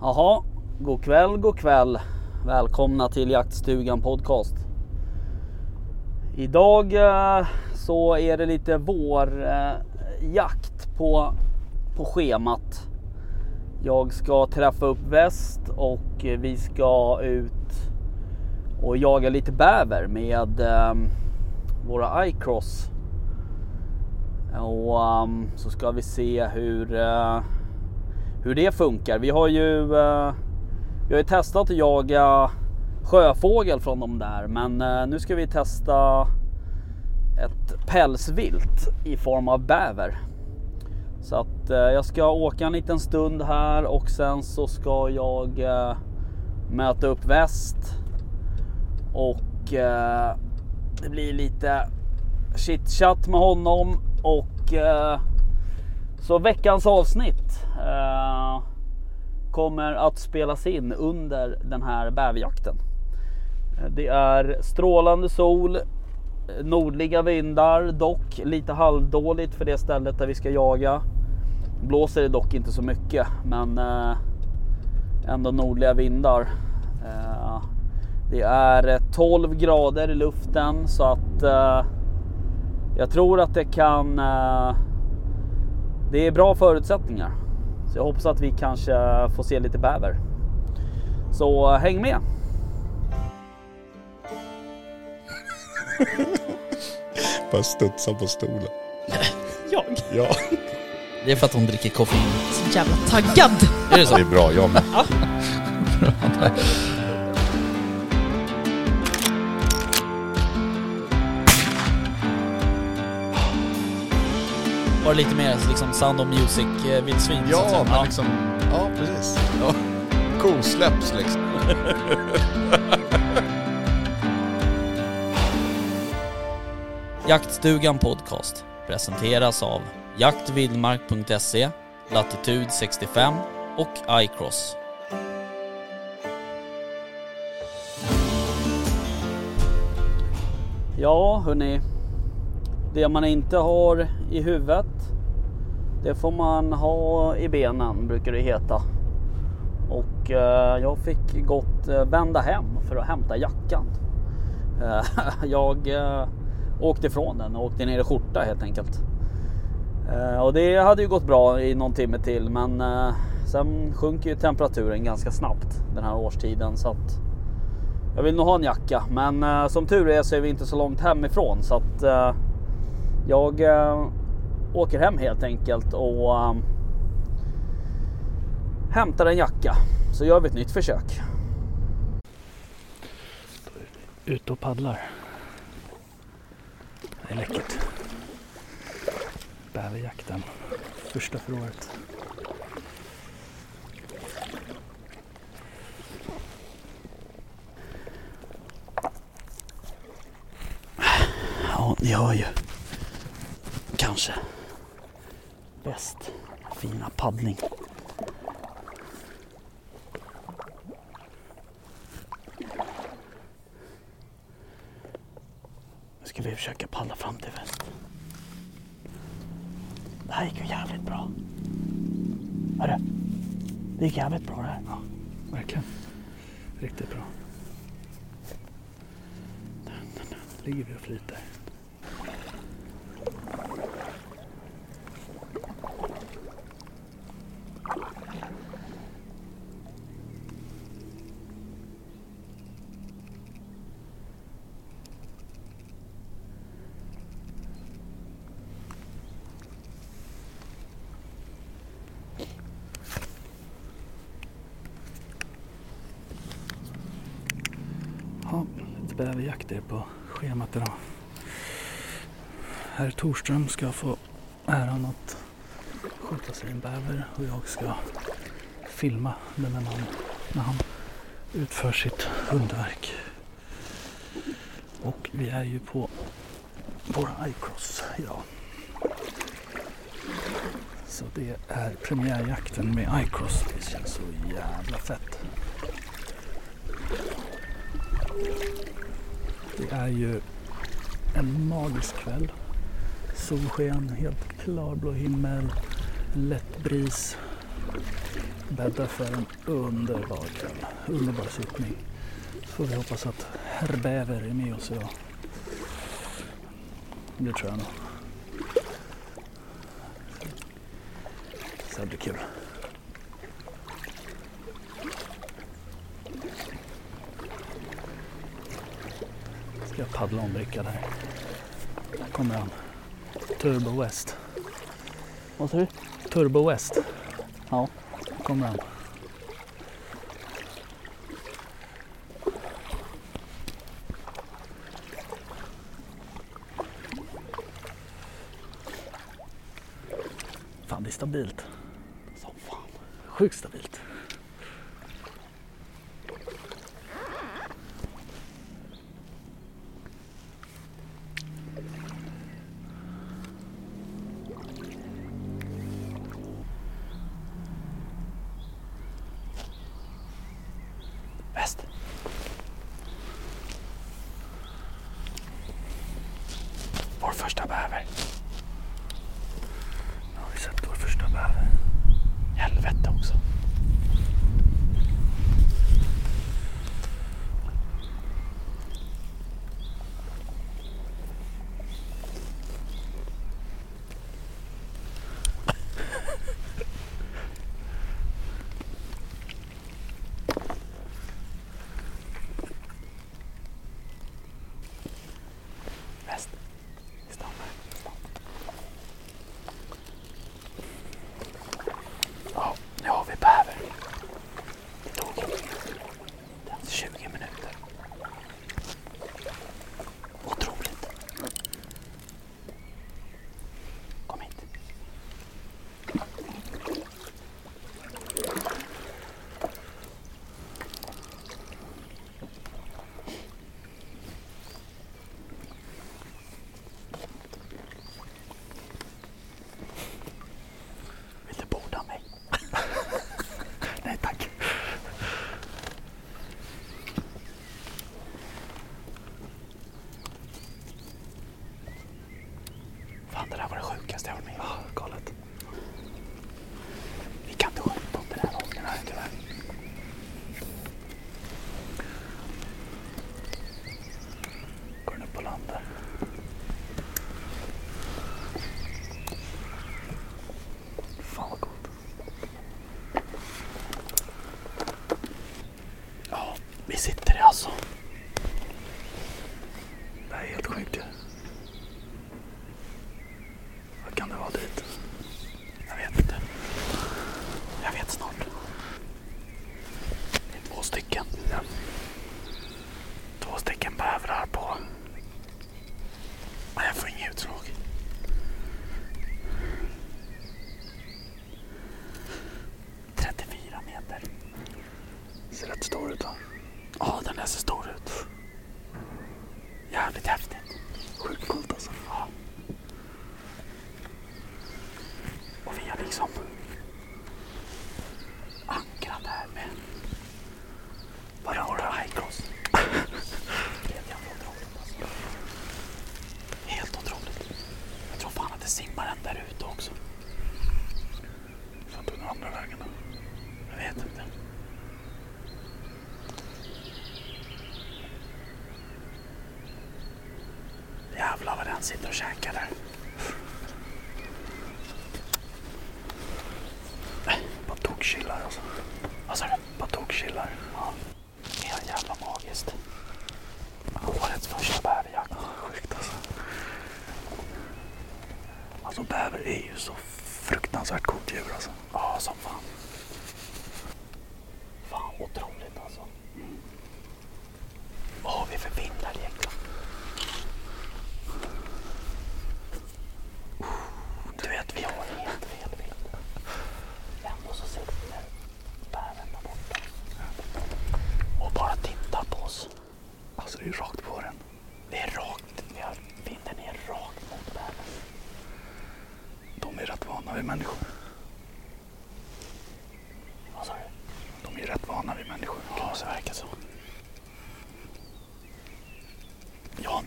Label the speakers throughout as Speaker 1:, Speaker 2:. Speaker 1: Jaha, god kväll, god kväll. Välkomna till Jaktstugan Podcast. Idag eh, så är det lite vårjakt på, på schemat. Jag ska träffa upp väst och eh, vi ska ut och jaga lite bäver med eh, våra iCross. Och ehm, så ska vi se hur, eh, hur det funkar. Vi har ju eh, vi har ju testat att jaga sjöfågel från dem där men eh, nu ska vi testa ett pälsvilt i form av bäver. Så att eh, jag ska åka en liten stund här och sen så ska jag eh, möta upp väst och eh, det blir lite chitchat med honom och eh, så veckans avsnitt eh, kommer att spelas in under den här bäverjakten. Eh, Det är strålande sol, eh, nordliga vindar, dock lite halvdåligt för det stället där vi ska jaga. Blåser det dock inte så mycket, men eh, ändå nordliga vindar. Eh, Det är eh, 12 grader i luften så att eh, jag tror att det kan eh, det är bra förutsättningar. Så jag hoppas att vi kanske får se lite bäver. Så eh, häng med!
Speaker 2: Bara studsa på stolen.
Speaker 3: Jag?
Speaker 2: Ja.
Speaker 4: Det är för att hon dricker koffein.
Speaker 3: Så jävla taggad!
Speaker 4: Är det så?
Speaker 2: Det är bra, jag med.
Speaker 4: Var det lite mer liksom Sound of Music eh, vildsvin? så att
Speaker 2: Ja,
Speaker 4: säga?
Speaker 2: men liksom... Ja, precis.
Speaker 4: Ja.
Speaker 2: Kosläpps liksom.
Speaker 4: Jaktstugan Podcast presenteras av jaktvildmark.se, Latitude 65 och iCross.
Speaker 1: Ja hörni, det man inte har i huvudet det får man ha i benen brukar det heta. Och eh, jag fick gott eh, vända hem för att hämta jackan. Eh, jag eh, åkte ifrån den och åkte ner i skjorta helt enkelt. Eh, och det hade ju gått bra i någon timme till men eh, sen sjunker ju temperaturen ganska snabbt den här årstiden så att jag vill nog ha en jacka men eh, som tur är så är vi inte så långt hemifrån så att eh, jag eh, åker hem helt enkelt och eh, hämtar en jacka så gör vi ett nytt försök. Ute och paddlar. Det är läckert. Bäverjakten. Första för året. Ja, ni hör ju. Kanske. Bäst fina paddling. Nu ska vi försöka paddla fram till väst. Det här gick ju jävligt bra. Hörru. Det gick jävligt bra det här. Ja, verkligen. Riktigt bra. Ligger vi och flyter.
Speaker 5: Ja, lite bäverjakt är på schemat idag. Herr Torström ska få äran att skjuta sig en bäver och jag ska filma den här mannen när han utför sitt underverk. Och vi är ju på våra iCross idag. Så det är premiärjakten med iCross. Det känns så jävla fett. Det är ju en magisk kväll. Solsken, helt klarblå himmel, lätt bris, bäddar för en underbar kväll. Underbar sittning. Så får vi hoppas att herr Bäver är med oss idag. Det tror jag nog. Så det blir kul. Ska jag paddla om bricka där. Där kommer han. Turbo West.
Speaker 1: Vad sa du?
Speaker 5: Turbo West.
Speaker 1: Ja.
Speaker 5: Där kommer han. Fan det är stabilt. Som fan. Sjukt stabilt.
Speaker 1: Väst.
Speaker 5: Vår första bäver. Nu har vi sett vår första bäver. Helvete också.
Speaker 1: Väst. Vi stannar. Ja, nu har vi bäver. Det tog inte ens 20 minuter. Otroligt. Kom hit. Vill du borda mig? Nej tack. Fan det där var det sjukaste jag varit med om. Ja, galet. Vi kan inte skjuta åt den här gången här tyvärr. Går den upp på land där? Fan vad coolt. Ja, vi sitter där alltså. Det här är helt sjukt ju. Vad kan det vara dit? Jag vet inte. Jag vet snart. Det är två stycken. Två stycken bävrar på... Nej, jag får inget utslag.
Speaker 5: Fyra meter. Ser rätt stor ut va? Ja, den där ser stor ut. Jävligt häftigt. Sjukt coolt alltså. Ja. Och vi har liksom ankrat här med bara några highcross. Det är jävla otroligt alltså. Helt otroligt. Jag tror fan att det simmar en där ute också. Fan tog den andra vägen då? Jag vet inte. Jävlar vad den sitter och käkar där. Äh, Bara tokkillar alltså. Vad sa du? Bara tokkillar. Ja. Helt jävla magiskt. Årets första bäverjakt. Ja, sjukt alltså. Alltså bäver är ju så fruktansvärt coolt djur alltså. Ja, som fan. Fan otroligt alltså. Vad har vi för vindar egentligen? Du vet, vi har helt fel vind. Ändå så sitter bären där borta och bara tittar på oss. Alltså det är rakt på den. Det är rakt. Vi har, vinden är rakt mot bären. De är rätt vana vid människor. Vad sa du? De är rätt vana vid människor. Ja, det verkar så. Jag,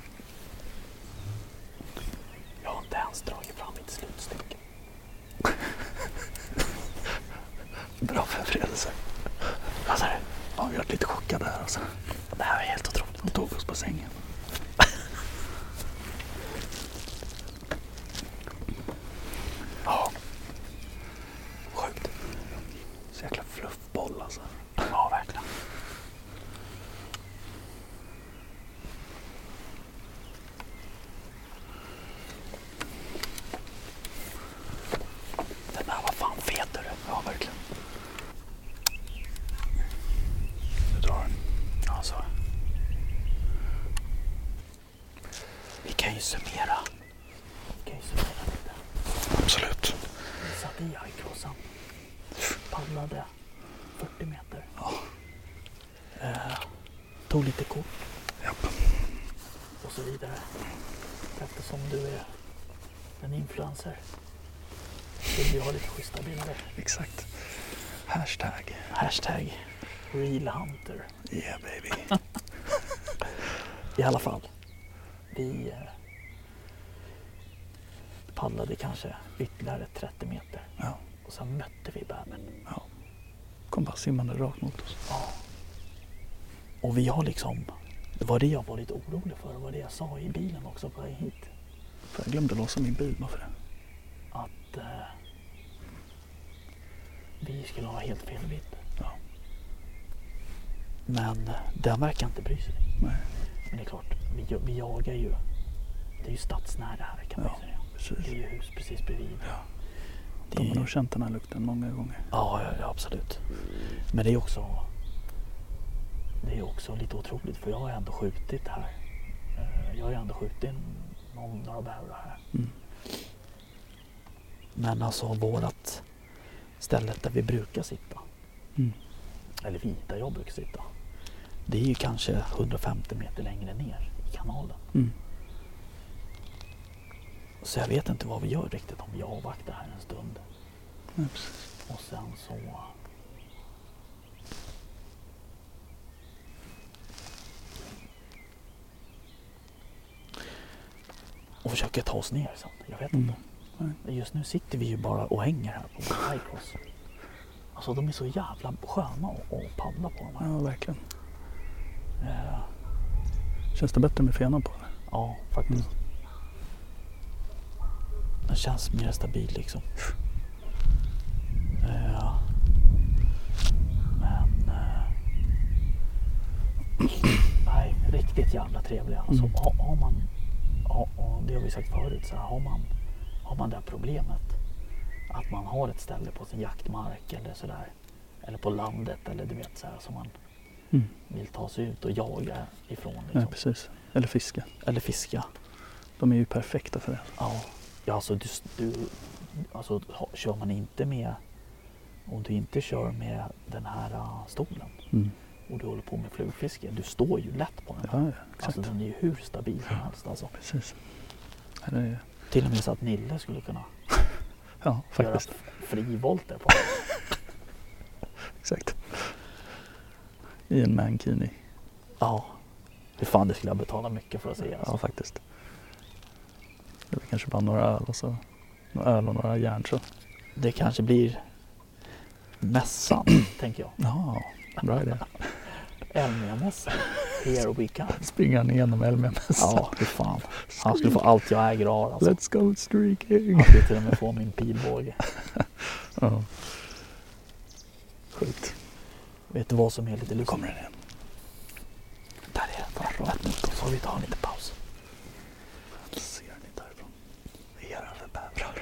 Speaker 5: jag har inte ens dragit fram mitt slutstycke. alltså. alltså. summera. Vi kan ju summera lite.
Speaker 6: Absolut.
Speaker 5: Vi satt i jajkrossan. Paddlade 40 meter. Eh, tog lite kort. Och så vidare. Eftersom du är en influencer. Vill vi ha lite schyssta bilder.
Speaker 6: Exakt. Hashtag.
Speaker 5: Hashtag real hunter.
Speaker 6: Yeah baby.
Speaker 5: I alla fall. Vi eh, paddlade kanske ytterligare 30 meter.
Speaker 6: Ja.
Speaker 5: Och sen mötte vi bävern.
Speaker 6: Kom bara simmande rakt mot oss.
Speaker 5: Och vi har liksom, det var det jag var lite orolig för. Det var det jag sa i bilen också på väg hit.
Speaker 6: För jag glömde låsa min bil bara för det.
Speaker 5: Att eh, vi skulle ha helt fel vidd.
Speaker 6: Ja.
Speaker 5: Men den verkar inte bry sig.
Speaker 6: Nej.
Speaker 5: Men det är klart, vi, vi jagar ju. Det är ju stadsnära här kan man
Speaker 6: Ja.
Speaker 5: ju säga. Det är
Speaker 6: Precis.
Speaker 5: ju hus precis bredvid.
Speaker 6: Ja.
Speaker 5: Det är
Speaker 6: De har
Speaker 5: ju
Speaker 6: nog känt den här lukten många gånger.
Speaker 5: Ja, ja, ja, absolut. Men det är också det är också lite otroligt för jag har ändå skjutit här. Eh, Jag har ju ändå skjutit någon, några bävrar här.
Speaker 6: Mm.
Speaker 5: Men alltså vårat stället där vi brukar sitta.
Speaker 6: Mm.
Speaker 5: Eller vi, där jag brukar sitta. Det är ju kanske 150 meter längre ner i kanalen.
Speaker 6: Mm.
Speaker 5: Så jag vet inte vad vi gör riktigt om vi avvaktar här en stund.
Speaker 6: Ja, precis.
Speaker 5: Och sen så... Och försöker ta oss ner sen. Jag vet
Speaker 6: Mm.
Speaker 5: inte. Just nu sitter vi ju bara och hänger här på Caicos. Alltså de är så jävla sköna att att paddla på de här.
Speaker 6: ja verkligen.
Speaker 5: Eh,
Speaker 6: Känns det bättre med fenan på? eller?
Speaker 5: Ja, faktiskt. Den känns
Speaker 6: Mm.
Speaker 5: mer stabil liksom. Ja. Men... eh, Nej, riktigt jävla trevliga. Alltså,
Speaker 6: Mm.
Speaker 5: har, har man... Ja, ja, det har vi sagt förut. Så här, har, man, har man det här problemet att man har ett ställe på sin jaktmark eller sådär. Eller på landet eller du vet så här som man
Speaker 6: Mm.
Speaker 5: vill ta sig ut och jaga ifrån. Liksom.
Speaker 6: Nej precis. Eller fiska.
Speaker 5: Eller fiska.
Speaker 6: De är ju perfekta för det.
Speaker 5: Ja, ja alltså, du, du, alltså ha- kör man inte med om du inte kör med den här ah, stolen
Speaker 6: Mm.
Speaker 5: och du håller på med flugfiske, du står ju lätt på den.
Speaker 6: Ja, ja exakt.
Speaker 5: alltså den är ju hur stabil som helst alltså.
Speaker 6: Precis. Här är,
Speaker 5: Till och med så att Nille skulle kunna
Speaker 6: ja faktiskt.
Speaker 5: göra f- frivolter på den.
Speaker 6: Exakt. I en mankini.
Speaker 5: Ja, hur fan det skulle jag betala mycket för att se alltså.
Speaker 6: Ja faktiskt. Det blir kanske bara några öl och så. Några öl och några järn så.
Speaker 5: Det kanske blir mässan, tänker jag.
Speaker 6: Ja, bra idé.
Speaker 5: Elmia-mässan. Here we come.
Speaker 6: Springa ner genom Elmia-mässan.
Speaker 5: Ja, hur fan. Han skulle få allt jag äger och har alltså.
Speaker 6: Let's go streaking!
Speaker 5: Han skulle till och med få min pilbåge.
Speaker 6: Ja. Sjukt.
Speaker 5: Vet du vad som är lite lustigt? kommer den igen. Där är den. Där rakt mot oss. Får vi ta en liten paus?
Speaker 6: Jag ser den inte härifrån. Det är alla bävrar.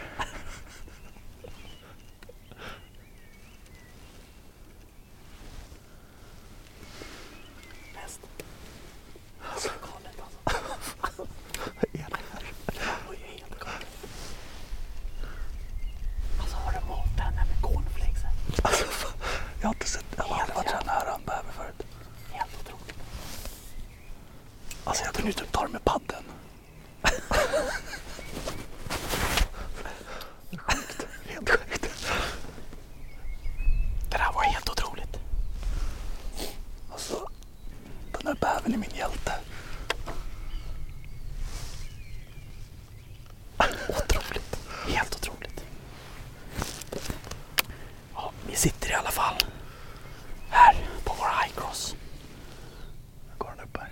Speaker 5: Häst. Alltså galet alltså.
Speaker 6: Vad är det här?
Speaker 5: Det var ju helt galet. Alltså har du malt den här med cornflakesen?
Speaker 6: Jag har inte sett, jag har aldrig varit så här nära en bäver förut.
Speaker 5: Helt otroligt.
Speaker 6: Alltså jag kunde ju typ ta den med paddeln. Sjukt. Helt sjukt.
Speaker 5: Det där var helt otroligt.
Speaker 6: Alltså, den där bävern är min hjälte.
Speaker 5: Otroligt. Helt otroligt. Ja, vi sitter i alla fall här på vår highcross.
Speaker 6: Går den upp här?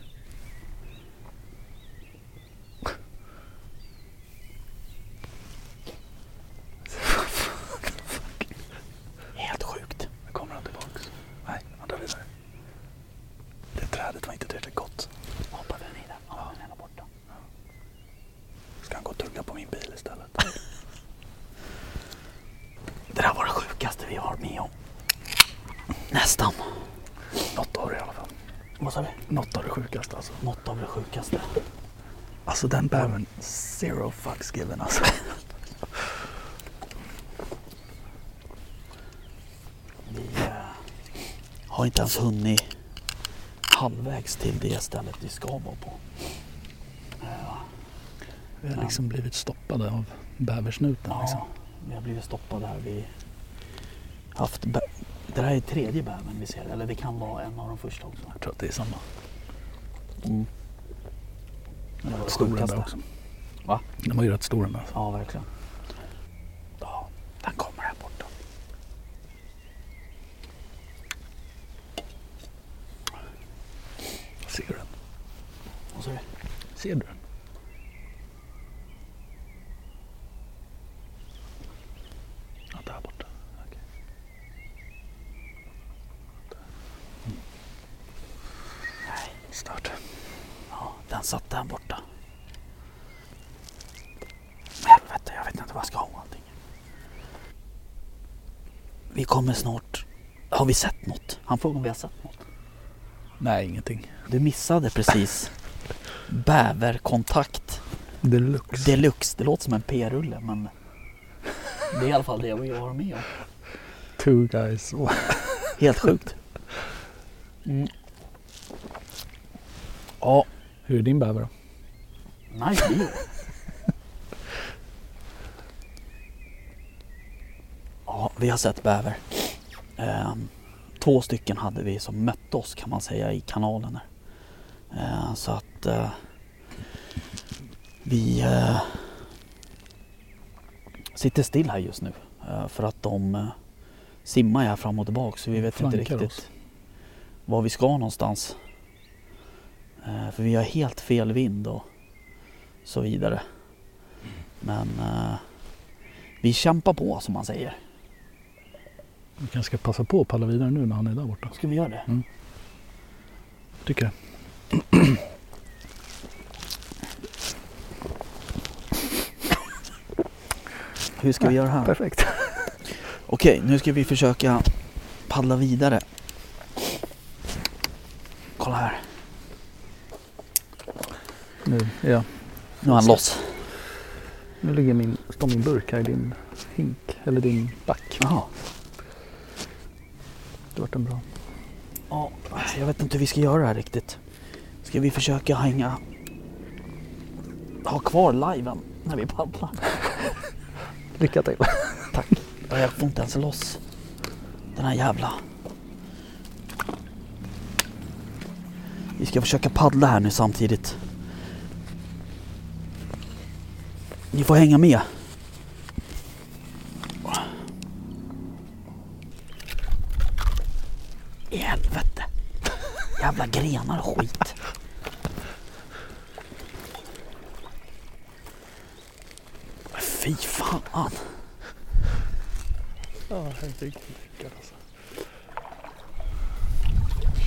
Speaker 5: Helt sjukt.
Speaker 6: Nu kommer han tillbaks. Nej, han drar vidare. Det trädet var inte tillräckligt gott.
Speaker 5: Hoppar den i den? Ja, den är där borta.
Speaker 6: Ska han gå och tugga på min bil istället?
Speaker 5: Det där var det sjukaste vi har med om. Nästan.
Speaker 6: Något av det i alla fall.
Speaker 5: Vad sa vi?
Speaker 6: Något av det sjukaste alltså.
Speaker 5: Något av det sjukaste. Alltså den bävern, zero fucks given alltså.
Speaker 6: eh, Har inte ens hunnit halvvägs till det stället vi ska vara på. Eh,
Speaker 5: Vi har liksom blivit stoppade av bäversnuten liksom.
Speaker 6: Ja, vi har blivit stoppade här. Vi haft bä- det här är tredje bävern vi ser, eller det kan vara en av de första också.
Speaker 5: Jag tror att det är samma.
Speaker 6: Mm.
Speaker 5: Den var
Speaker 6: Det var
Speaker 5: rätt
Speaker 6: det
Speaker 5: stor den
Speaker 6: sjukaste.
Speaker 5: där också.
Speaker 6: Va?
Speaker 5: Den var ju rätt stor den där.
Speaker 6: Ja, verkligen. Ja, den kommer här borta.
Speaker 5: Ser du den?
Speaker 6: Vad sa du?
Speaker 5: Ser du den? Ja, där borta. Okej. Mm. Snart.
Speaker 6: Ja, den satt där borta. Helvete, jag vet inte vad jag ska ha allting. Vi kommer snart. Har vi sett något? Han frågar om vi har sett något.
Speaker 5: Nej, ingenting.
Speaker 6: Du missade precis bäverkontakt
Speaker 5: Deluxe.
Speaker 6: deluxe. Det låter som en p-rulle men det är i alla fall det jag har med om.
Speaker 5: Two guys.
Speaker 6: Helt sjukt. Mm. Ja,
Speaker 5: Hur är din bäver då?
Speaker 6: nice deal. Ja, vi har sett bäver. Ehm, två stycken hade vi som mötte oss kan man säga i kanalen. Här. Ehm, så att eh, vi eh, sitter still här just nu eh, för att de eh, simmar här fram och tillbaka så vi vet
Speaker 5: Flankar
Speaker 6: inte riktigt
Speaker 5: oss.
Speaker 6: var vi ska någonstans. Eh, för vi har helt fel vind och så vidare. Men eh, vi kämpar på som man säger.
Speaker 5: Vi kanske ska passa på att palla vidare nu när han är där borta.
Speaker 6: Ska vi göra det?
Speaker 5: Tycker jag.
Speaker 6: Hur ska vi göra här?
Speaker 5: Perfekt.
Speaker 6: Okej, nu ska vi försöka paddla vidare. Kolla här,
Speaker 5: Nu, ja.
Speaker 6: nu är han loss.
Speaker 5: nu ligger min, står min burk här i din hink, eller din back.
Speaker 6: Jaha.
Speaker 5: Det vart en bra.
Speaker 6: Ja, jag vet inte hur vi ska göra här riktigt. Ska vi försöka hänga... Ha kvar liven när vi paddlar?
Speaker 5: Lycka till.
Speaker 6: Tack. Ja, Jag får inte ens loss den här jävla... Vi ska försöka paddla här nu samtidigt. Ni får hänga med. I helvete. Jävla grenar och skit. Fy fan.
Speaker 5: Ja, herregud. lyckat alltså.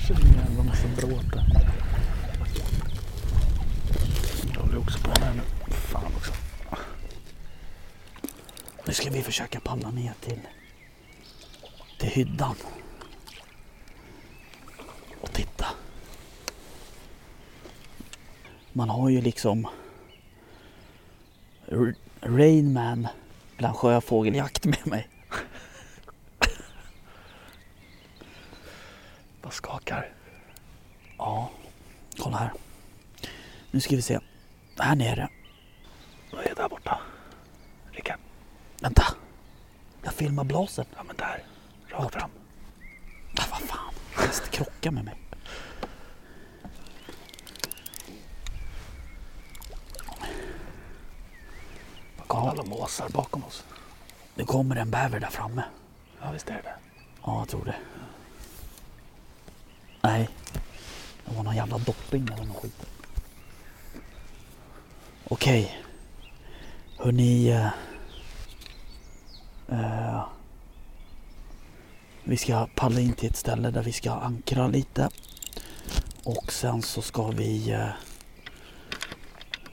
Speaker 5: Kör en jävla massa bråte. Jag håller också på med här nu. Fan också.
Speaker 6: Nu ska vi försöka paddla ner till, till hyddan. Och titta. Man har ju liksom R- Rain Man bland sjöfågeljakt med mig.
Speaker 5: Bara skakar.
Speaker 6: Ja, kolla här. Nu ska vi se. Här nere.
Speaker 5: Vad är där borta? Rickard.
Speaker 6: Vänta. Jag filmar blasen.
Speaker 5: Ja men där. Rakt fram.
Speaker 6: Ah, vad fan. Häst krockar med mig.
Speaker 5: Kolla alla måsar bakom oss.
Speaker 6: Nu kommer en bäver där framme.
Speaker 5: Ja visst är det.
Speaker 6: Ja, jag tror det. Nej. Det var någon jävla dopping eller någon skit. Okej. Hörni. Eh, eh, vi ska paddla in till ett ställe där vi ska ankra lite. Och sen så ska vi...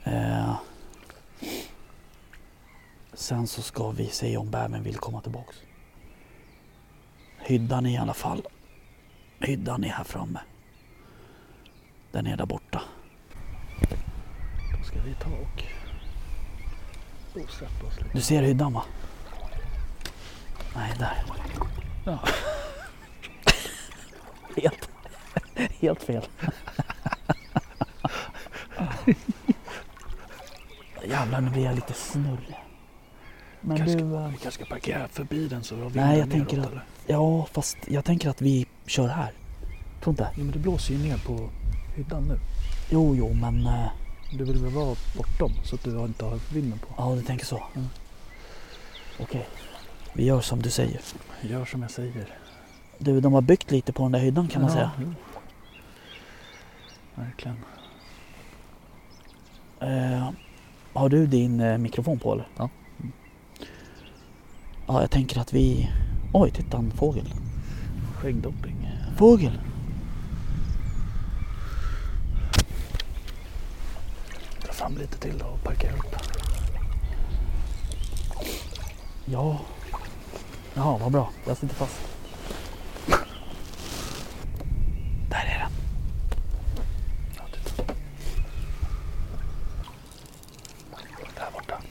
Speaker 6: Eh, eh, sen så ska vi se om bävern vill komma tillbaks. Hyddan i alla fall. Hyddan är här framme. Den är där borta.
Speaker 5: Då ska vi vi ta och bosätta oss lite?
Speaker 6: Du ser hyddan va? Nej, där.
Speaker 7: Ja.
Speaker 6: helt, helt fel. Jävlar, nu blir jag lite snurrig. Men
Speaker 5: Kanske-
Speaker 6: du, eh,
Speaker 5: Vi kanske ska parkera förbi den så vi har vinden
Speaker 6: Nej, jag
Speaker 5: neråt,
Speaker 6: tänker att-
Speaker 5: eller?
Speaker 6: ja fast jag tänker att vi kör här. Tror inte?
Speaker 5: Jo men det blåser ju ner på hyddan nu.
Speaker 6: Jo, jo, men eh,
Speaker 5: Du vill väl vara bortom så att du inte har vinden på?
Speaker 6: ja, du tänker så. Mm. Okej, vi gör som du säger.
Speaker 5: Gör som jag säger.
Speaker 6: Du, de har byggt lite på den där hyddan kan man
Speaker 5: Ja,
Speaker 6: säga.
Speaker 5: jo. Verkligen.
Speaker 6: Eh, har du din eh, mikrofon på eller?
Speaker 8: Ja.
Speaker 6: Mm. Ja, jag tänker att vi... Oj, titta en fågel.
Speaker 5: Skäggdopping.
Speaker 6: Fågel!
Speaker 5: Dra fram lite till då och parkera upp.
Speaker 6: Ja. Jaha, vad bra. Jag sitter fast. Där är den.
Speaker 5: Ja, titta. Där borta.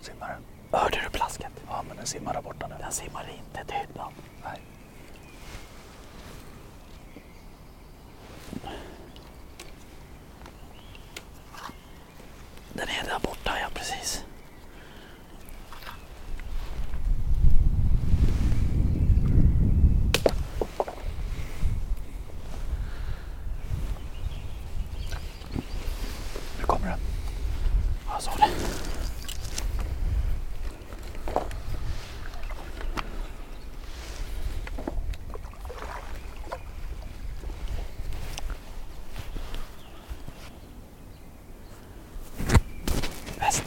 Speaker 5: Simmar den?
Speaker 6: Hörde du plasket?
Speaker 5: Ja, men den simmar där borta nu.
Speaker 6: Den simmar inte till hyddan.
Speaker 5: Nej.
Speaker 6: Den är där borta, ja precis.
Speaker 5: Nu kommer den.
Speaker 6: Jag såg det. Väst.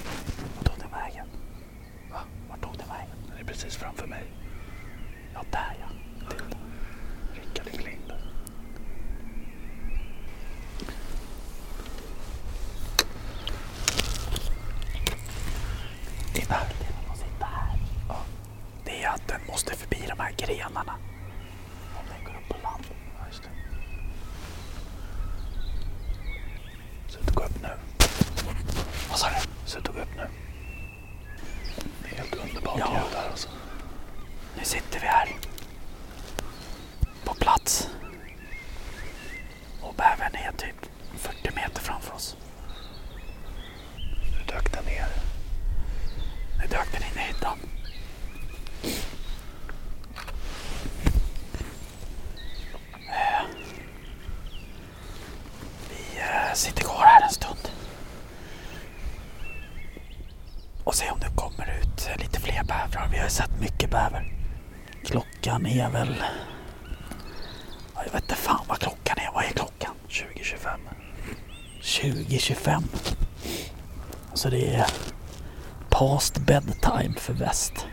Speaker 6: Vart tog den vägen? Va? Vart tog den vägen?
Speaker 5: Den är precis framför mig.
Speaker 6: Ja, där ja.
Speaker 5: Rickard i blind.
Speaker 6: Titta. Den måste sitta här. Det är att den måste förbi de här grenarna. Om den går upp på land.
Speaker 5: Ja, just det. Slut och gå upp nu. Vad sa du? Slut och gå upp nu. Det är helt underbart
Speaker 6: Ja.
Speaker 5: ljud här alltså.
Speaker 6: Nu sitter vi här. På plats. Och bävern är typ 40 meter framför oss.
Speaker 5: Nu dök den ner.
Speaker 6: Nu dök den in i hyddan. Eh, Vi eh, sitter kvar här en stund. Och ser om det kommer ut eh, lite fler bävrar. Vi har ju sett mycket bäver. Klockan är väl... Ja, Jag vet inte fan vad klockan är. Vad är klockan?
Speaker 5: 2025.
Speaker 6: 2025. Så det är past bedtime för väst.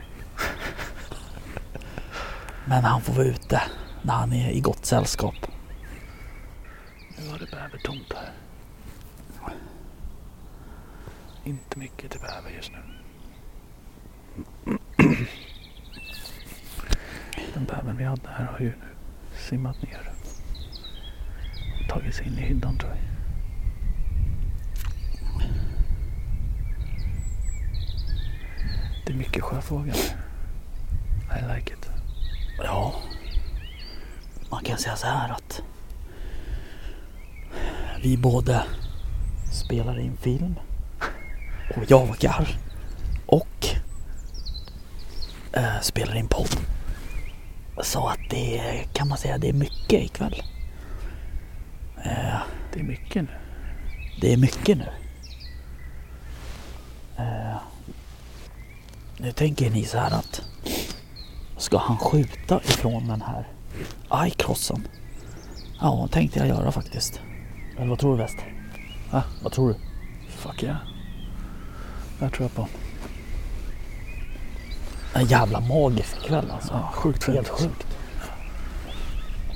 Speaker 6: Men han får vara ute när han är i gott sällskap.
Speaker 5: Nu har det bävertomt här. Inte mycket till bäver just nu. Den bävern vi hade här har ju nu simmat ner. Tagit sig in i hyddan tror jag. Det är mycket sjöfågel. I like it.
Speaker 6: Ja, man kan säga så här att vi både spelar in film och jagar och eh, spelar in podd. Så att det är- kan man säga det är mycket ikväll.
Speaker 5: Det är mycket nu.
Speaker 6: Det är mycket nu. Eh, nu tänker ni så här att ska han skjuta ifrån den här iCrossen? Ja, tänkte jag göra faktiskt. Men vad tror du väst?
Speaker 5: Va?
Speaker 6: Vad tror du?
Speaker 5: Fuck yeah. Det här tror jag på.
Speaker 6: En jävla magisk kväll alltså.
Speaker 5: Ja, sjukt fint.
Speaker 6: Helt
Speaker 5: alltså.
Speaker 6: sjukt.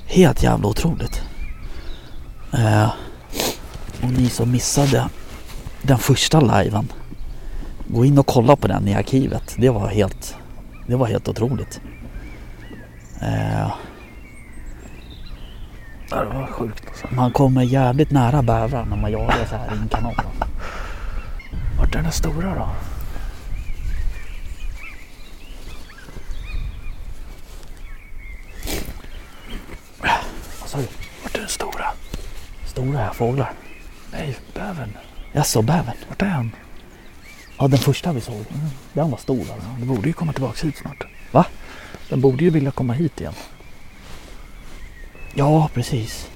Speaker 6: Helt jävla otroligt. Eh, och ni som missade den första liven. Gå in och kolla på den i arkivet. Det var helt, det var helt otroligt. Eh,
Speaker 5: Ja, Det var alltså. sjukt alltså.
Speaker 6: man kommer jävligt nära bävrar när man jagar så här i en kanal.
Speaker 5: Vart är den stora då?
Speaker 6: Vad sa du?
Speaker 5: Vart är den stora?
Speaker 6: Stora här fåglar.
Speaker 5: Nej, bävern.
Speaker 6: Jaså, bävern?
Speaker 5: Vart är han? Mm.
Speaker 6: Ja, den första vi såg. Den var stor alltså.
Speaker 5: Den borde ju komma tillbaks hit snart.
Speaker 6: Va?
Speaker 5: Den borde ju vilja komma hit igen.
Speaker 6: Ja, precis.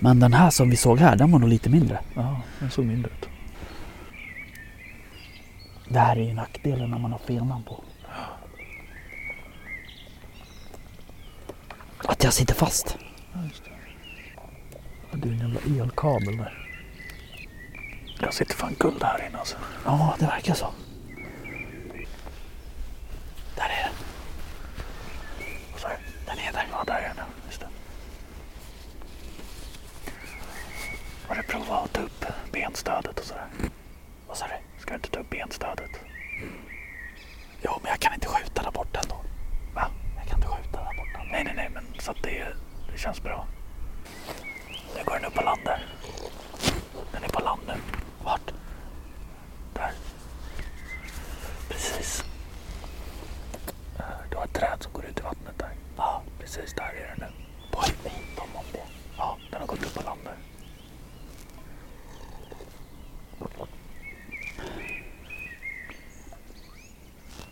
Speaker 6: Men den här som vi såg här, den var nog lite mindre.
Speaker 5: Ja, den såg mindre ut.
Speaker 6: Det här är ju nackdelen när man har fel namn på. Att jag sitter fast.
Speaker 5: Ja, Det är en jävla elkabel där. Jag sitter fan guld här inne alltså.
Speaker 6: Ja, det verkar så. Där är den.
Speaker 5: Vad sa du?
Speaker 6: Den är där.
Speaker 5: Ja, där är den. Just det. Har du provat att ta upp benstödet och sådär?
Speaker 6: Vad sa du?
Speaker 5: Ska du inte ta upp benstödet?
Speaker 6: Jo, men jag kan inte skjuta där borta ändå.
Speaker 5: Va?
Speaker 6: Jag kan inte skjuta där borta.
Speaker 5: Nej, nej, nej, men så att det, det känns bra. Nu går den upp på land där. Den är på land nu. Vart? Där. Precis. Eh, Du har ett träd som går ut i vattnet där. Ja, precis där är den nu. Påminn dem om det. Ja, den har gått upp på land nu.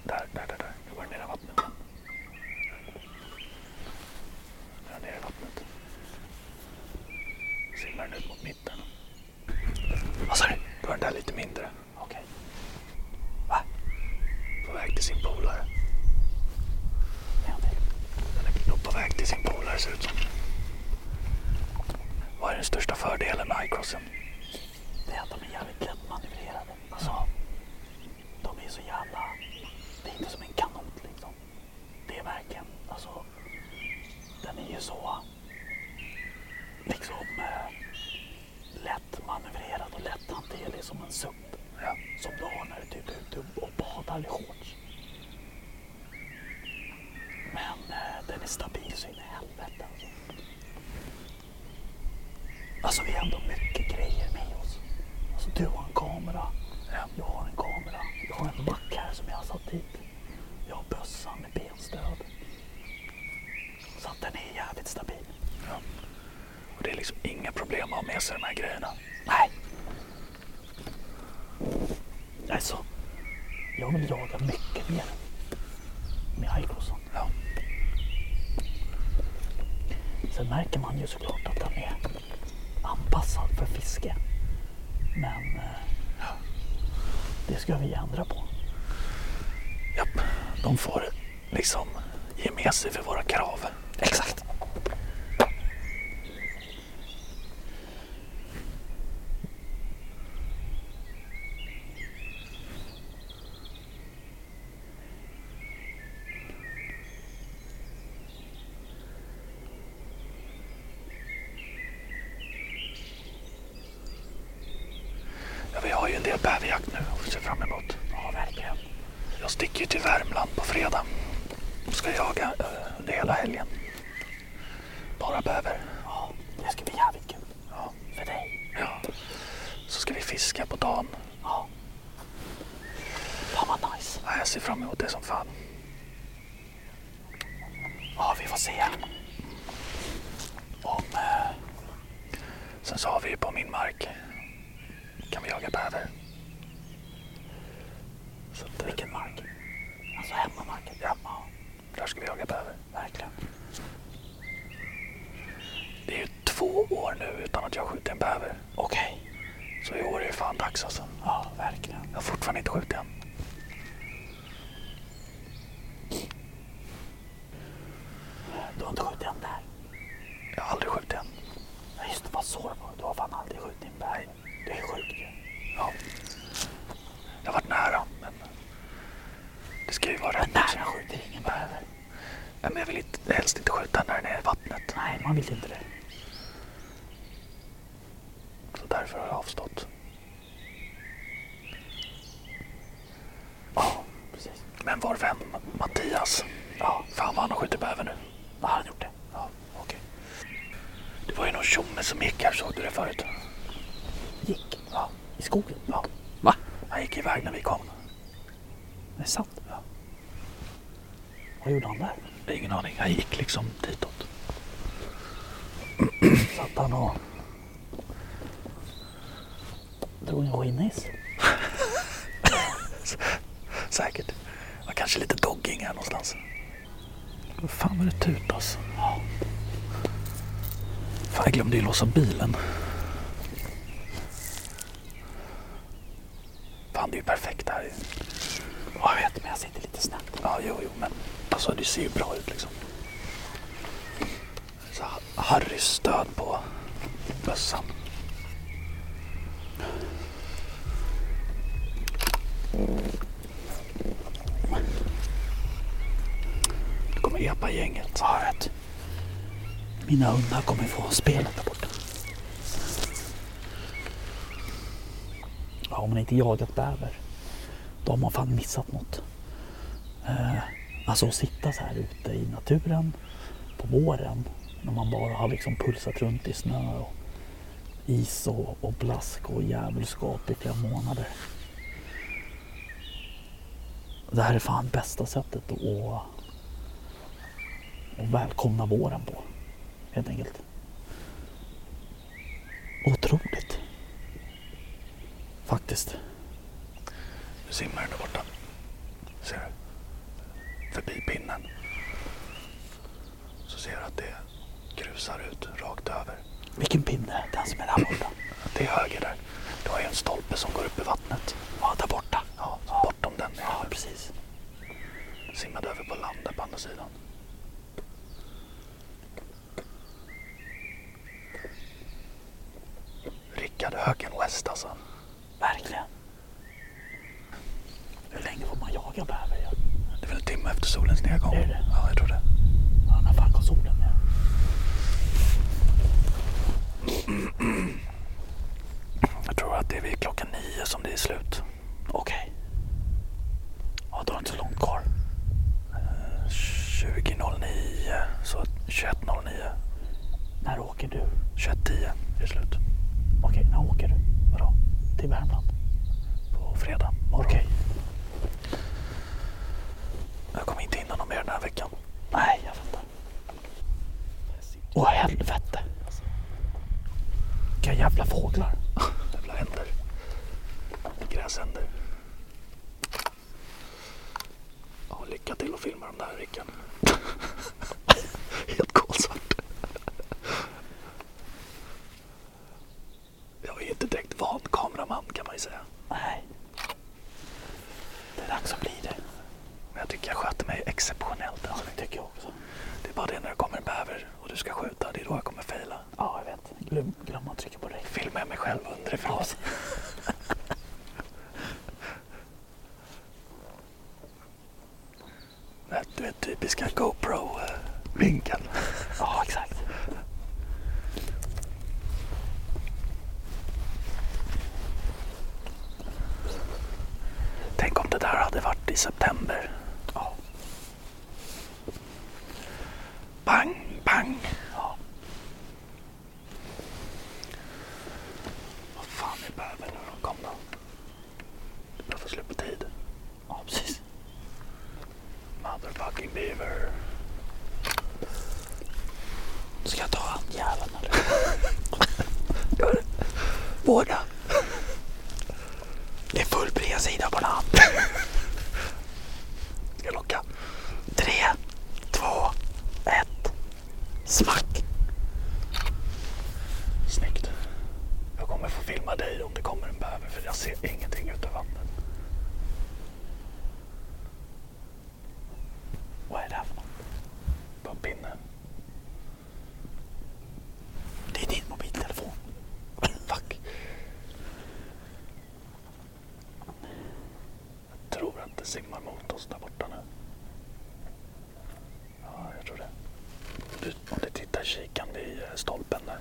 Speaker 5: Där, där, där, där. Nu går den ner i vattnet. igen. Dra ner i vattnet. Simmar den ut mot mitten. Vad sa du? Då är den där lite mindre. Okej. Va? På väg till sin polare. Den är nog på väg till sin polare ser det ut som. Vad är den största fördelen med iCrossen?
Speaker 6: Det är att de är jävligt lättmanövrerade. Alltså, de är så jävla... Det är inte som en kanot liksom. Det är verkligen, alltså... Den är ju så... Liksom... Eh, lättmanövrerad och lätthanterlig som en SUP.
Speaker 5: Ja.
Speaker 6: Som du har när du typ är ute och badar i shorts. Men eh, den är stabil så in i helvete alltså. Alltså vi har ändå mycket grejer med oss. Alltså du har en kamera. Jag har en kamera. Jag har en mack här som jag har satt dit. Jag har bössan med benstöd. Så att den är jävligt stabil.
Speaker 5: Och det är liksom inga problem att ha med sig de här grejerna.
Speaker 6: Nej. Alltså, jag vill jaga mycket mer med Icrossen.
Speaker 5: Ja.
Speaker 6: Sen märker man ju såklart att den är anpassad för fiske. Men eh, det ska vi ändra på.
Speaker 5: Japp. De får liksom ge med sig för våra krav.
Speaker 6: Exakt.
Speaker 5: Ja, vi har ju en del bäverjakt nu och ser fram emot. Ja, verkligen. Jag sticker ju till Värmland på fredag. Och ska jaga eh, under hela helgen. Bara bäver.
Speaker 6: Ja, det ska bli jävligt kul.
Speaker 5: Ja.
Speaker 6: För dig.
Speaker 5: Ja. Så ska vi fiska på dagen.
Speaker 6: Ja. Fan vad nice.
Speaker 5: Ja, jag ser fram emot det som fan.
Speaker 6: Ja, vi får se. Om... Eh,
Speaker 5: Sen så har vi ju på min mark kan vi jaga bäver. Så att, eh,
Speaker 6: vilken mark? Alltså hemmamarken?
Speaker 5: Ja. Där ska vi jaga bäver.
Speaker 6: Verkligen.
Speaker 5: Det är ju två år nu utan att jag skjutit en bäver.
Speaker 6: Okej.
Speaker 5: Så i år är det fan dags alltså.
Speaker 6: Ja, verkligen.
Speaker 5: Jag har fortfarande inte skjutit en.
Speaker 6: Du har inte skjutit en där?
Speaker 5: Jag har aldrig skjutit en.
Speaker 6: Ja, just det. Vad så det var. Du har fan aldrig skjutit en bär. Du är sjuk ju.
Speaker 5: Ja. Jag har varit nära, men det ska ju vara
Speaker 6: Men
Speaker 5: rätt. liksom.
Speaker 6: nära skjuter ingen bäver.
Speaker 5: Nej, Men jag vill inte, helst inte skjuta när den är i vattnet.
Speaker 6: Nej, man vill inte det.
Speaker 5: Så därför har jag avstått.
Speaker 6: Ja, precis.
Speaker 5: Men vår vän Mattias. Ja. Fan vad han har skjutit bäver nu.
Speaker 6: Vad har han gjort det?
Speaker 5: Ja, okej. Det var ju någon tjomme som gick här, såg du det förut?
Speaker 6: Gick?
Speaker 5: Ja.
Speaker 6: I skogen?
Speaker 5: ja.
Speaker 6: Va?
Speaker 5: gick iväg när vi kom.
Speaker 6: Det är sant.
Speaker 5: Ja.
Speaker 6: Vad gjorde han där?
Speaker 5: Ingen aning. Han gick liksom ditåt.
Speaker 6: Satt han och... Drog en skinnis?
Speaker 5: Säkert. Det var kanske lite dogging här någonstans. Fan vad det alltså? tutas. Fan, jag glömde ju låsa bilen. Fan, det är ju perfekt här. Ja, jag vet, men jag sitter lite snett. Ja, jo, jo, men alltså det ser ju bra ut liksom. Så Harrys stöd på bössan. Nu kommer epa-gänget. Ja, jag vet.
Speaker 6: Mina hundar kommer få spelet där borta. Ja, om man inte jagat bäver. Då har man fan missat något. Eh, alltså att sitta så här ute i naturen på våren. När man bara har liksom pulsat runt i snö och is och, och blask och djävulskap i flera månader. Det här är fan bästa sättet att, att välkomna våren på helt enkelt. Otroligt. Faktiskt.
Speaker 5: Nu simmar den där borta. Ser du? Förbi pinnen. Så ser du att det grusar ut rakt över.
Speaker 6: Vilken pinne, den som är där borta.
Speaker 5: Till höger där. Du har ju en stolpe som går upp i vattnet.
Speaker 6: Ja, där borta.
Speaker 5: Ja, så bortom den.
Speaker 6: Ja, precis.
Speaker 5: Simmade över på land där på andra sidan. Rickard Höken West alltså.
Speaker 6: Verkligen. Hur länge får man jaga bäver? Ja,
Speaker 5: Det är väl en timme efter solens nedgång?
Speaker 6: Är det?
Speaker 5: Ja, jag tror det.
Speaker 6: ja när fan kom solen ner?
Speaker 5: Jag tror att det är vid klockan nio som det är slut.
Speaker 6: Okej. Ja, då är det inte så långt kvar.
Speaker 5: Eh, 20.09, så 21.09,
Speaker 6: När åker du?
Speaker 5: 21.10 är det slut.
Speaker 6: Okej, när åker du? Vadå? Till Värmland?
Speaker 5: På fredag morgon.
Speaker 6: Okej.
Speaker 5: Jag kommer inte hinna något mer den här veckan.
Speaker 6: Nej, jag fattar. Åh helvete. Vilka jävla fåglar.
Speaker 5: Jävla händer. Gräsänder. Ja, lycka till att filma de där Rickard. Helt kolsvart. Jag är inte direkt van kameraman kan man ju säga.
Speaker 6: Nej. Det är dags att bli det.
Speaker 5: Men jag tycker jag sköter mig exceptionellt än så länge.
Speaker 6: Tycker jag också.
Speaker 5: Det är bara det när det kommer en bäver och du ska skjuta, det är då jag kommer fejla.
Speaker 6: Ja, jag vet. Glöm, glöm att trycka på räck.
Speaker 5: Filmar jag mig själv underifrån. Det här, Du vet typiska GoPro-vinkeln.
Speaker 6: Ja, exakt.
Speaker 5: Tänk om det där hade varit i september. Ja. Bang, bang. Ja. Vad fan är bävern nu då? Kom då. Det börjar få slut på tid.
Speaker 6: Ja, precis.
Speaker 5: Motherfucking beaver.
Speaker 6: Ska jag ta han jäveln eller?
Speaker 5: Våga.
Speaker 6: Det är full bredsida på land.
Speaker 5: Ska jag locka?
Speaker 6: Tre, två, ett. Smack.
Speaker 5: Snyggt. Jag kommer få filma dig om det kommer en bäver för jag ser ingenting utav vattnet.
Speaker 6: Vad är det här för något?
Speaker 5: Bara en pinne.
Speaker 6: Det är din mobiltelefon.
Speaker 5: Fuck. Jag tror att det simmar mot oss där borta nu. Ja, jag tror det. Du, om du tittar i kikan vid eh, stolpen där.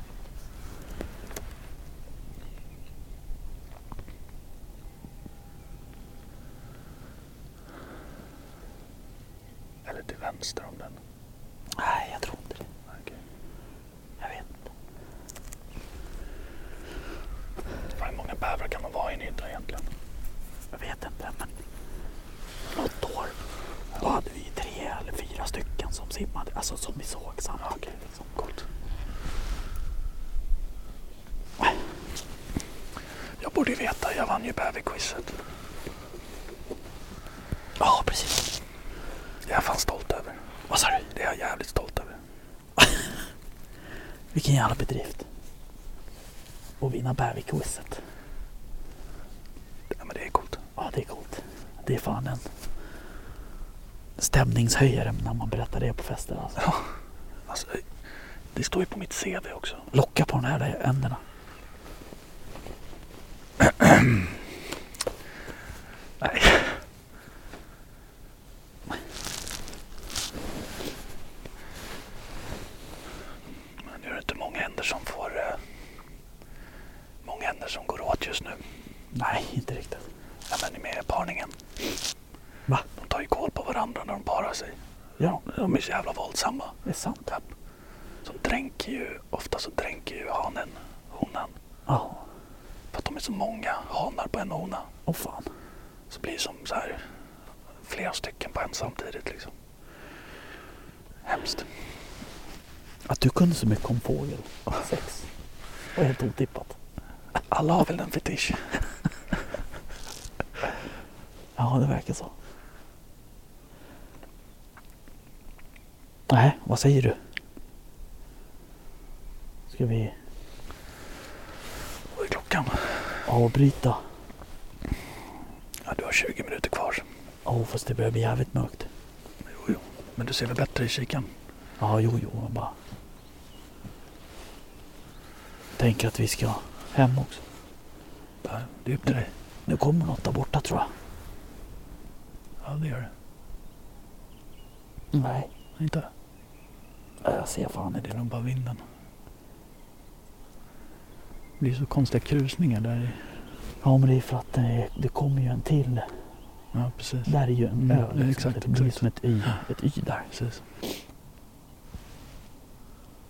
Speaker 5: Eller till vänster om den.
Speaker 6: Nej, jag tror inte det.
Speaker 5: Okej.
Speaker 6: Jag vet inte.
Speaker 5: Fan, Hur många bävrar kan man vara i en hydda egentligen?
Speaker 6: Jag vet inte. Men något år, då hade vi tre eller fyra stycken som simmade, alltså som vi såg samtidigt. liksom.
Speaker 5: Jag borde ju veta, jag vann ju bäverquizet.
Speaker 6: Ja, precis.
Speaker 5: Det är jag fan stolt över.
Speaker 6: Vad sa du?
Speaker 5: Det är jag jävligt stolt över.
Speaker 6: Vilken jävla bedrift. Och vinna Bergvik-quizet.
Speaker 5: Ja, men det är coolt.
Speaker 6: Ja, det är coolt. Det är fan en stämningshöjare när man berättar det på fester. Alltså.
Speaker 5: Alltså, det står ju på mitt CV också.
Speaker 6: Locka på de här där änderna.
Speaker 5: Nej. Men nu är det inte många händer som får... Eh, många händer som går åt just nu.
Speaker 6: Nej, inte riktigt.
Speaker 5: Ja, men med parningen.
Speaker 6: Va?
Speaker 5: De tar ju koll på varandra när de parar sig.
Speaker 6: Ja,
Speaker 5: De är så jävla våldsamma.
Speaker 6: det är sant.
Speaker 5: Ja. Så dränker ju, ofta så dränker ju hanen honan.
Speaker 6: Ja,
Speaker 5: För att de är så många hanar på en hona.
Speaker 6: åh fan.
Speaker 5: Så blir det som så här flera stycken på en samtidigt liksom. Hemskt.
Speaker 6: Att du kunde så mycket om fågel. Sex. var helt otippat.
Speaker 5: Alla har väl en fetisch.
Speaker 6: Ja, det verkar så. Nej, vad säger du? Ska vi
Speaker 5: Vad är klockan?
Speaker 6: avbryta?
Speaker 5: Ja, du har 20 minuter kvar.
Speaker 6: Åh, fast det börjar bli jävligt mörkt.
Speaker 5: Jo, jo. Men du ser väl bättre i kikaren?
Speaker 6: Ja, jo, jo, men bara... Tänker att vi ska hem också.
Speaker 5: Ja, Det är upp till dig.
Speaker 6: Nu kommer något där borta tror jag.
Speaker 5: Ja, det gör det.
Speaker 6: Nej,
Speaker 5: Inte?
Speaker 6: jag ser fan
Speaker 5: Det
Speaker 6: inte.
Speaker 5: är nog bara vinden. Det blir så konstiga krusningar där i...
Speaker 6: Ja, men det är för att det, det kommer ju en till.
Speaker 5: Ja, precis.
Speaker 6: Där är ju en
Speaker 5: Mm,
Speaker 6: ö. Liksom.
Speaker 5: exakt,
Speaker 6: det blir
Speaker 5: exakt.
Speaker 6: som ett y, ett y där.
Speaker 5: Precis.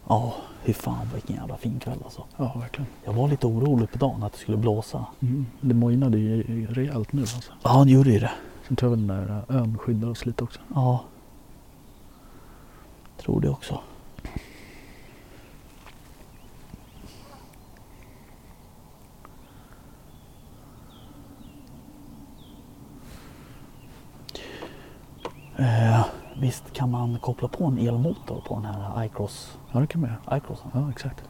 Speaker 6: Ja, hur fan vilken jävla fin kväll alltså.
Speaker 5: Ja, verkligen.
Speaker 6: Jag var lite orolig på dagen att det skulle blåsa.
Speaker 5: Mm. Det mojnade ju rejält nu alltså.
Speaker 6: Ja, han gjorde ju det.
Speaker 5: Sen tror jag väl den där äh, ön skyddar oss lite också.
Speaker 6: Ja. Tror det också. Eh, visst kan man koppla på en elmotor på den här iCross,
Speaker 5: Ja, det kan man göra.
Speaker 6: iCrossen?
Speaker 5: Ja, exakt.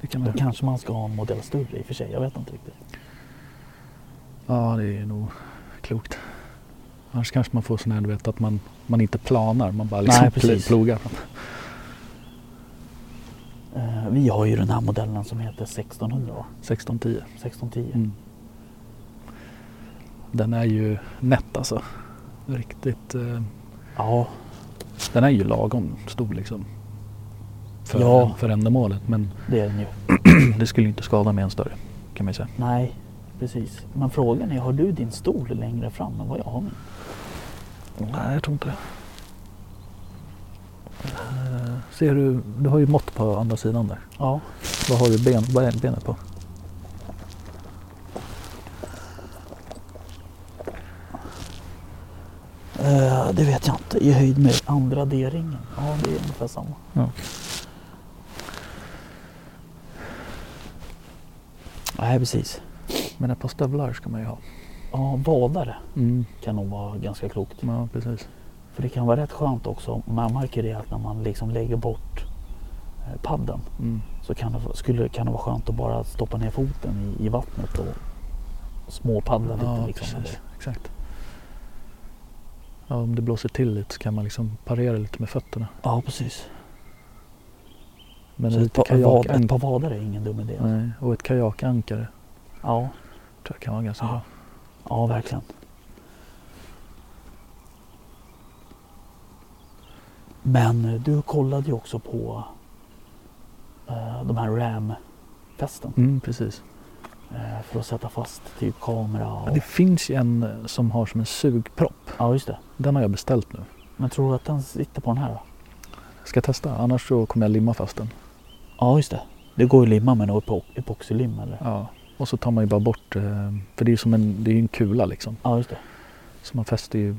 Speaker 5: Det kan man
Speaker 6: Då
Speaker 5: göra.
Speaker 6: kanske man ska ha en modell större i och för sig. Jag vet inte riktigt.
Speaker 5: Ja, det är nog klokt. Annars kanske man får sån här, du vet, att man, man inte planar. Man bara liksom
Speaker 6: Nej, precis.
Speaker 5: plogar.
Speaker 6: Eh, vi har ju den här modellen som heter 1600 va?
Speaker 5: 1610.
Speaker 6: 1610.
Speaker 5: Mm. Den är ju nätt alltså. Riktigt. Eh,
Speaker 6: Ja,
Speaker 5: den är ju lagom stor liksom. För,
Speaker 6: Ja.
Speaker 5: för ändamålet. Men
Speaker 6: det är den ju.
Speaker 5: det skulle ju inte skada med en större. Kan man ju säga.
Speaker 6: Nej, precis. Men frågan är, har du din stol längre fram än vad jag har min?
Speaker 5: Nej, jag tror inte det. Eh, Ser du, du har ju mått på andra sidan där.
Speaker 6: Ja.
Speaker 5: Vad har du ben, vad är benet på?
Speaker 6: Eh, det vet jag inte. I höjd med andra D-ringen. Ja, det är ungefär samma.
Speaker 5: Ja.
Speaker 6: Nej, precis.
Speaker 5: Men ett par stövlar ska man ju ha.
Speaker 6: Ja, badare
Speaker 5: Mm.
Speaker 6: kan nog vara ganska klokt.
Speaker 5: Ja, precis.
Speaker 6: För det kan vara rätt skönt också. Man märker det att när man liksom lägger bort eh, padden
Speaker 5: Mm.
Speaker 6: så kan det, skulle, kan det vara skönt att bara stoppa ner foten i, i vattnet och småpaddla lite.
Speaker 5: Ja,
Speaker 6: liksom,
Speaker 5: precis.
Speaker 6: eller-
Speaker 5: Exakt. Ja, om det blåser till lite så kan man liksom parera lite med fötterna.
Speaker 6: ja, precis.
Speaker 5: Men
Speaker 6: Så ett,
Speaker 5: lite
Speaker 6: par, vad, ett
Speaker 5: kajakankare.
Speaker 6: par vadar är ingen dum idé.
Speaker 5: Nej, och ett kajakankare
Speaker 6: Ja,
Speaker 5: tror jag kan vara ganska bra.
Speaker 6: ja verkligen. Men eh, du kollade ju också på eh, de här RAM-festen
Speaker 5: Mm, precis.
Speaker 6: eh, för att sätta fast typ kamera
Speaker 5: Ja,
Speaker 6: och...
Speaker 5: det finns ju en eh, som har som en sugpropp.
Speaker 6: Ja, just det.
Speaker 5: Den har jag beställt nu.
Speaker 6: Men tror du att den sitter på den här då?
Speaker 5: Ska jag testa, annars så kommer jag limma fast den.
Speaker 6: Ja, just det. Det går ju att limma med något epo- epoxylim eller?
Speaker 5: Ja. Och så tar man ju bara bort, eh, för det är ju som en, det är ju en kula liksom.
Speaker 6: Ja, just det.
Speaker 5: Så man fäster ju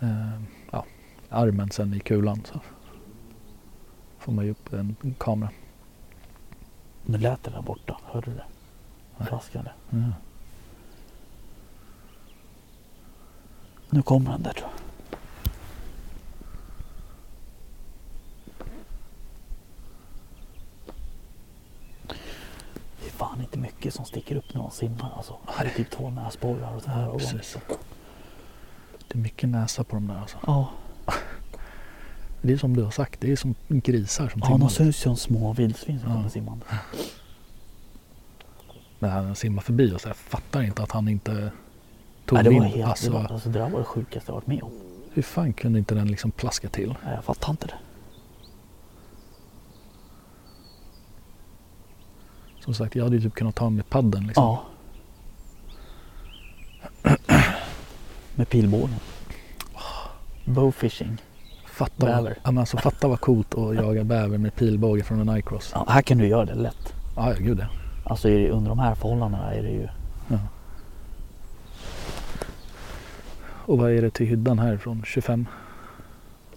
Speaker 5: eh, ja, armen sen i kulan så får man ju upp en kamera.
Speaker 6: Nu lät det där borta. Hörde du det? Den Raskade.
Speaker 5: Mm.
Speaker 6: Nu kommer han där tror jag. Det är fan inte mycket som sticker upp när man simmar alltså. Det är typ två näsborrar och så här. Och
Speaker 5: Precis. Det är mycket näsa på de där alltså.
Speaker 6: ja,
Speaker 5: Det är som du har sagt, det är som grisar som
Speaker 6: ja
Speaker 5: simmar.
Speaker 6: de ser ut som små vildsvin som
Speaker 5: Ja.
Speaker 6: kommer simmande.
Speaker 5: När han simmar förbi och så här, fattar inte att han inte
Speaker 6: Nej,
Speaker 5: tog
Speaker 6: det, var
Speaker 5: in.
Speaker 6: helt, det, var,
Speaker 5: Alltså,
Speaker 6: alltså, det där var det sjukaste jag varit med om.
Speaker 5: hur fan kunde inte den liksom plaska till?
Speaker 6: Nej, jag fattar inte det.
Speaker 5: Som sagt, jag hade ju typ kunnat ta med padden liksom.
Speaker 6: Ja. Med pilbågen. Bowfishing.
Speaker 5: Fatta,
Speaker 6: Bäver.
Speaker 5: Ja, men alltså, fatta vad coolt att jaga bäver med pilbåge från en iCross.
Speaker 6: Ja, här kan du göra det lätt.
Speaker 5: Ja, ja gud ja.
Speaker 6: Alltså är det, under de här förhållandena är det ju...
Speaker 5: Och vad är det till hyddan härifrån? 25?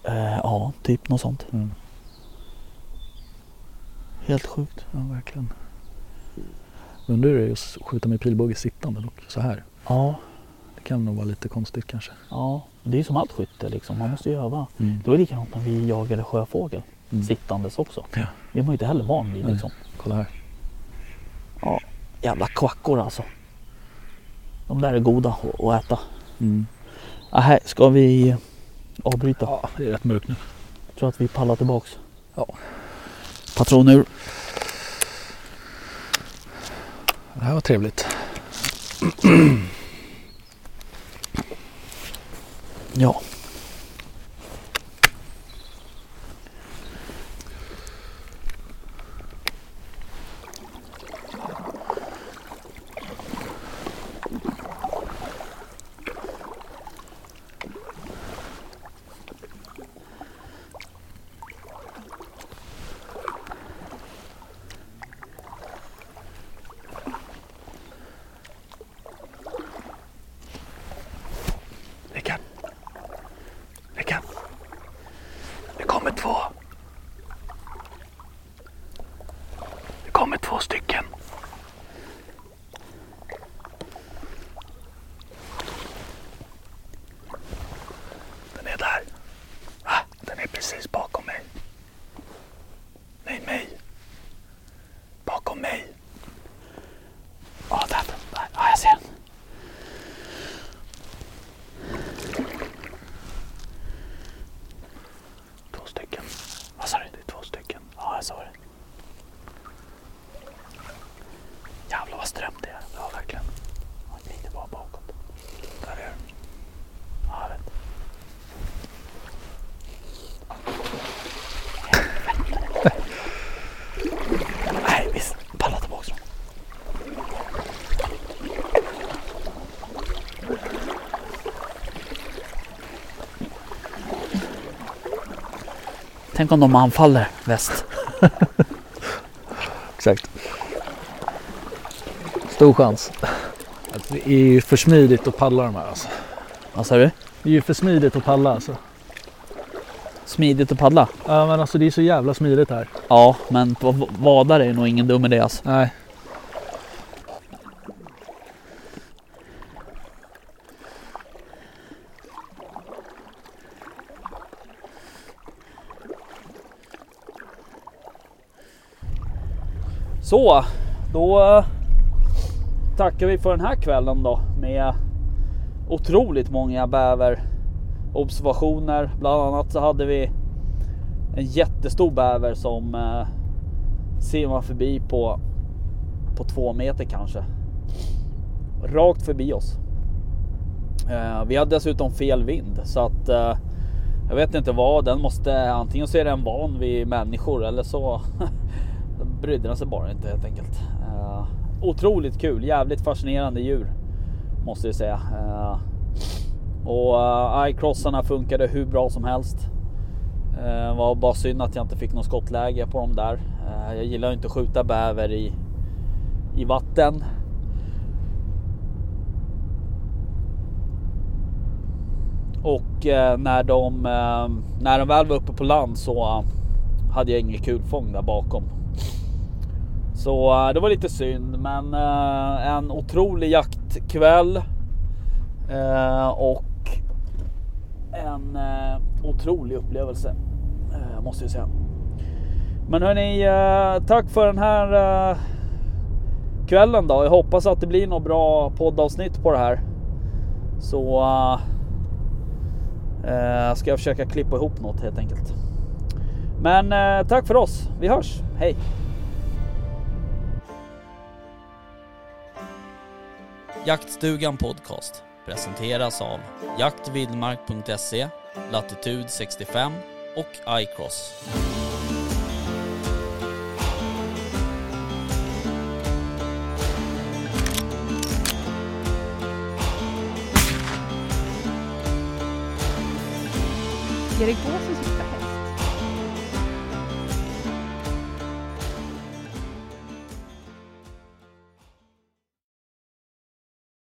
Speaker 6: Eh, ja, typ något sånt.
Speaker 5: Mm.
Speaker 6: Helt sjukt.
Speaker 5: Ja, verkligen. Undrar hur det är att skjuta med pilbåge sittande dock, så här.
Speaker 6: Ja,
Speaker 5: Det kan nog vara lite konstigt kanske.
Speaker 6: ja. Det är ju som allt skytte liksom. Man måste ju öva. Det var likadant när vi jagade sjöfågel. Sittandes också.
Speaker 5: Ja.
Speaker 6: Det är man ju inte heller van vid
Speaker 5: Nej.
Speaker 6: liksom.
Speaker 5: Kolla här.
Speaker 6: Ja, jävla kvackor alltså. De där är goda att- att äta.
Speaker 5: Mm.
Speaker 6: Ah, här ska vi avbryta.
Speaker 5: Ja, det är rätt mörkt nu.
Speaker 6: tror att vi pallar tillbaks.
Speaker 5: Ja.
Speaker 6: Patron ur.
Speaker 5: Det här var trevligt.
Speaker 6: Ja.
Speaker 9: Rickard. Rickard. Det kommer två. Det kommer två stycken. Den är där. Ah, den är precis bakom mig. Nej, mig. Bakom mig. Ja, där. där. Ja, jag ser den. Två stycken. Vad sa du? Det är två stycken. Ja, jag sa det. Jävlar vad strömt det är. Ja, verkligen. Ja, det är inte bara bakåt. Där är den. Ja, jag vet.
Speaker 6: Nej, visst. Palla tillbaks dem. Tänk om de anfaller väst.
Speaker 5: Exakt. Stor chans. Alltså, det är ju för smidigt att paddla de här alltså.
Speaker 6: Vad sa du?
Speaker 5: Det är ju för smidigt att paddla alltså.
Speaker 6: Smidigt att paddla?
Speaker 5: Ja men alltså det är så jävla smidigt här.
Speaker 6: Ja, men på v- vadare är nog ingen dum idé alltså.
Speaker 5: Nej.
Speaker 1: Så, då eh, tackar vi för den här kvällen då med otroligt många bäverobservationer. Bland annat så hade vi en jättestor bäver som eh, simmar förbi på, på två meter kanske. Rakt förbi oss. Eh, vi hade dessutom fel vind så att eh, jag vet inte vad den måste. Antingen så är den van vid människor eller så brydde den sig bara inte helt enkelt. Eh, otroligt kul, jävligt fascinerande djur måste jag säga. Eh, och eh, iCrossarna funkade hur bra som helst. Eh, var bara synd att jag inte fick något skottläge på dem där. Eh, jag gillar ju inte att skjuta bäver i, i vatten. Och eh, när, de, eh, när de väl var uppe på land så eh, hade jag inget kulfång där bakom. Så eh, det var lite synd, men eh, en otrolig jaktkväll. Eh, och en eh, otrolig upplevelse, eh, måste jag säga. Men hörni, eh, tack för den här eh, kvällen då. Jag hoppas att det blir något bra poddavsnitt på det här. Så eh, eh, ska jag försöka klippa ihop något helt enkelt. Men eh, tack för oss. Vi hörs. Hej!
Speaker 6: Jaktstugan Podcast presenteras av jaktvildmark.se, Latitude 65 och iCross.
Speaker 10: Erik Båsen som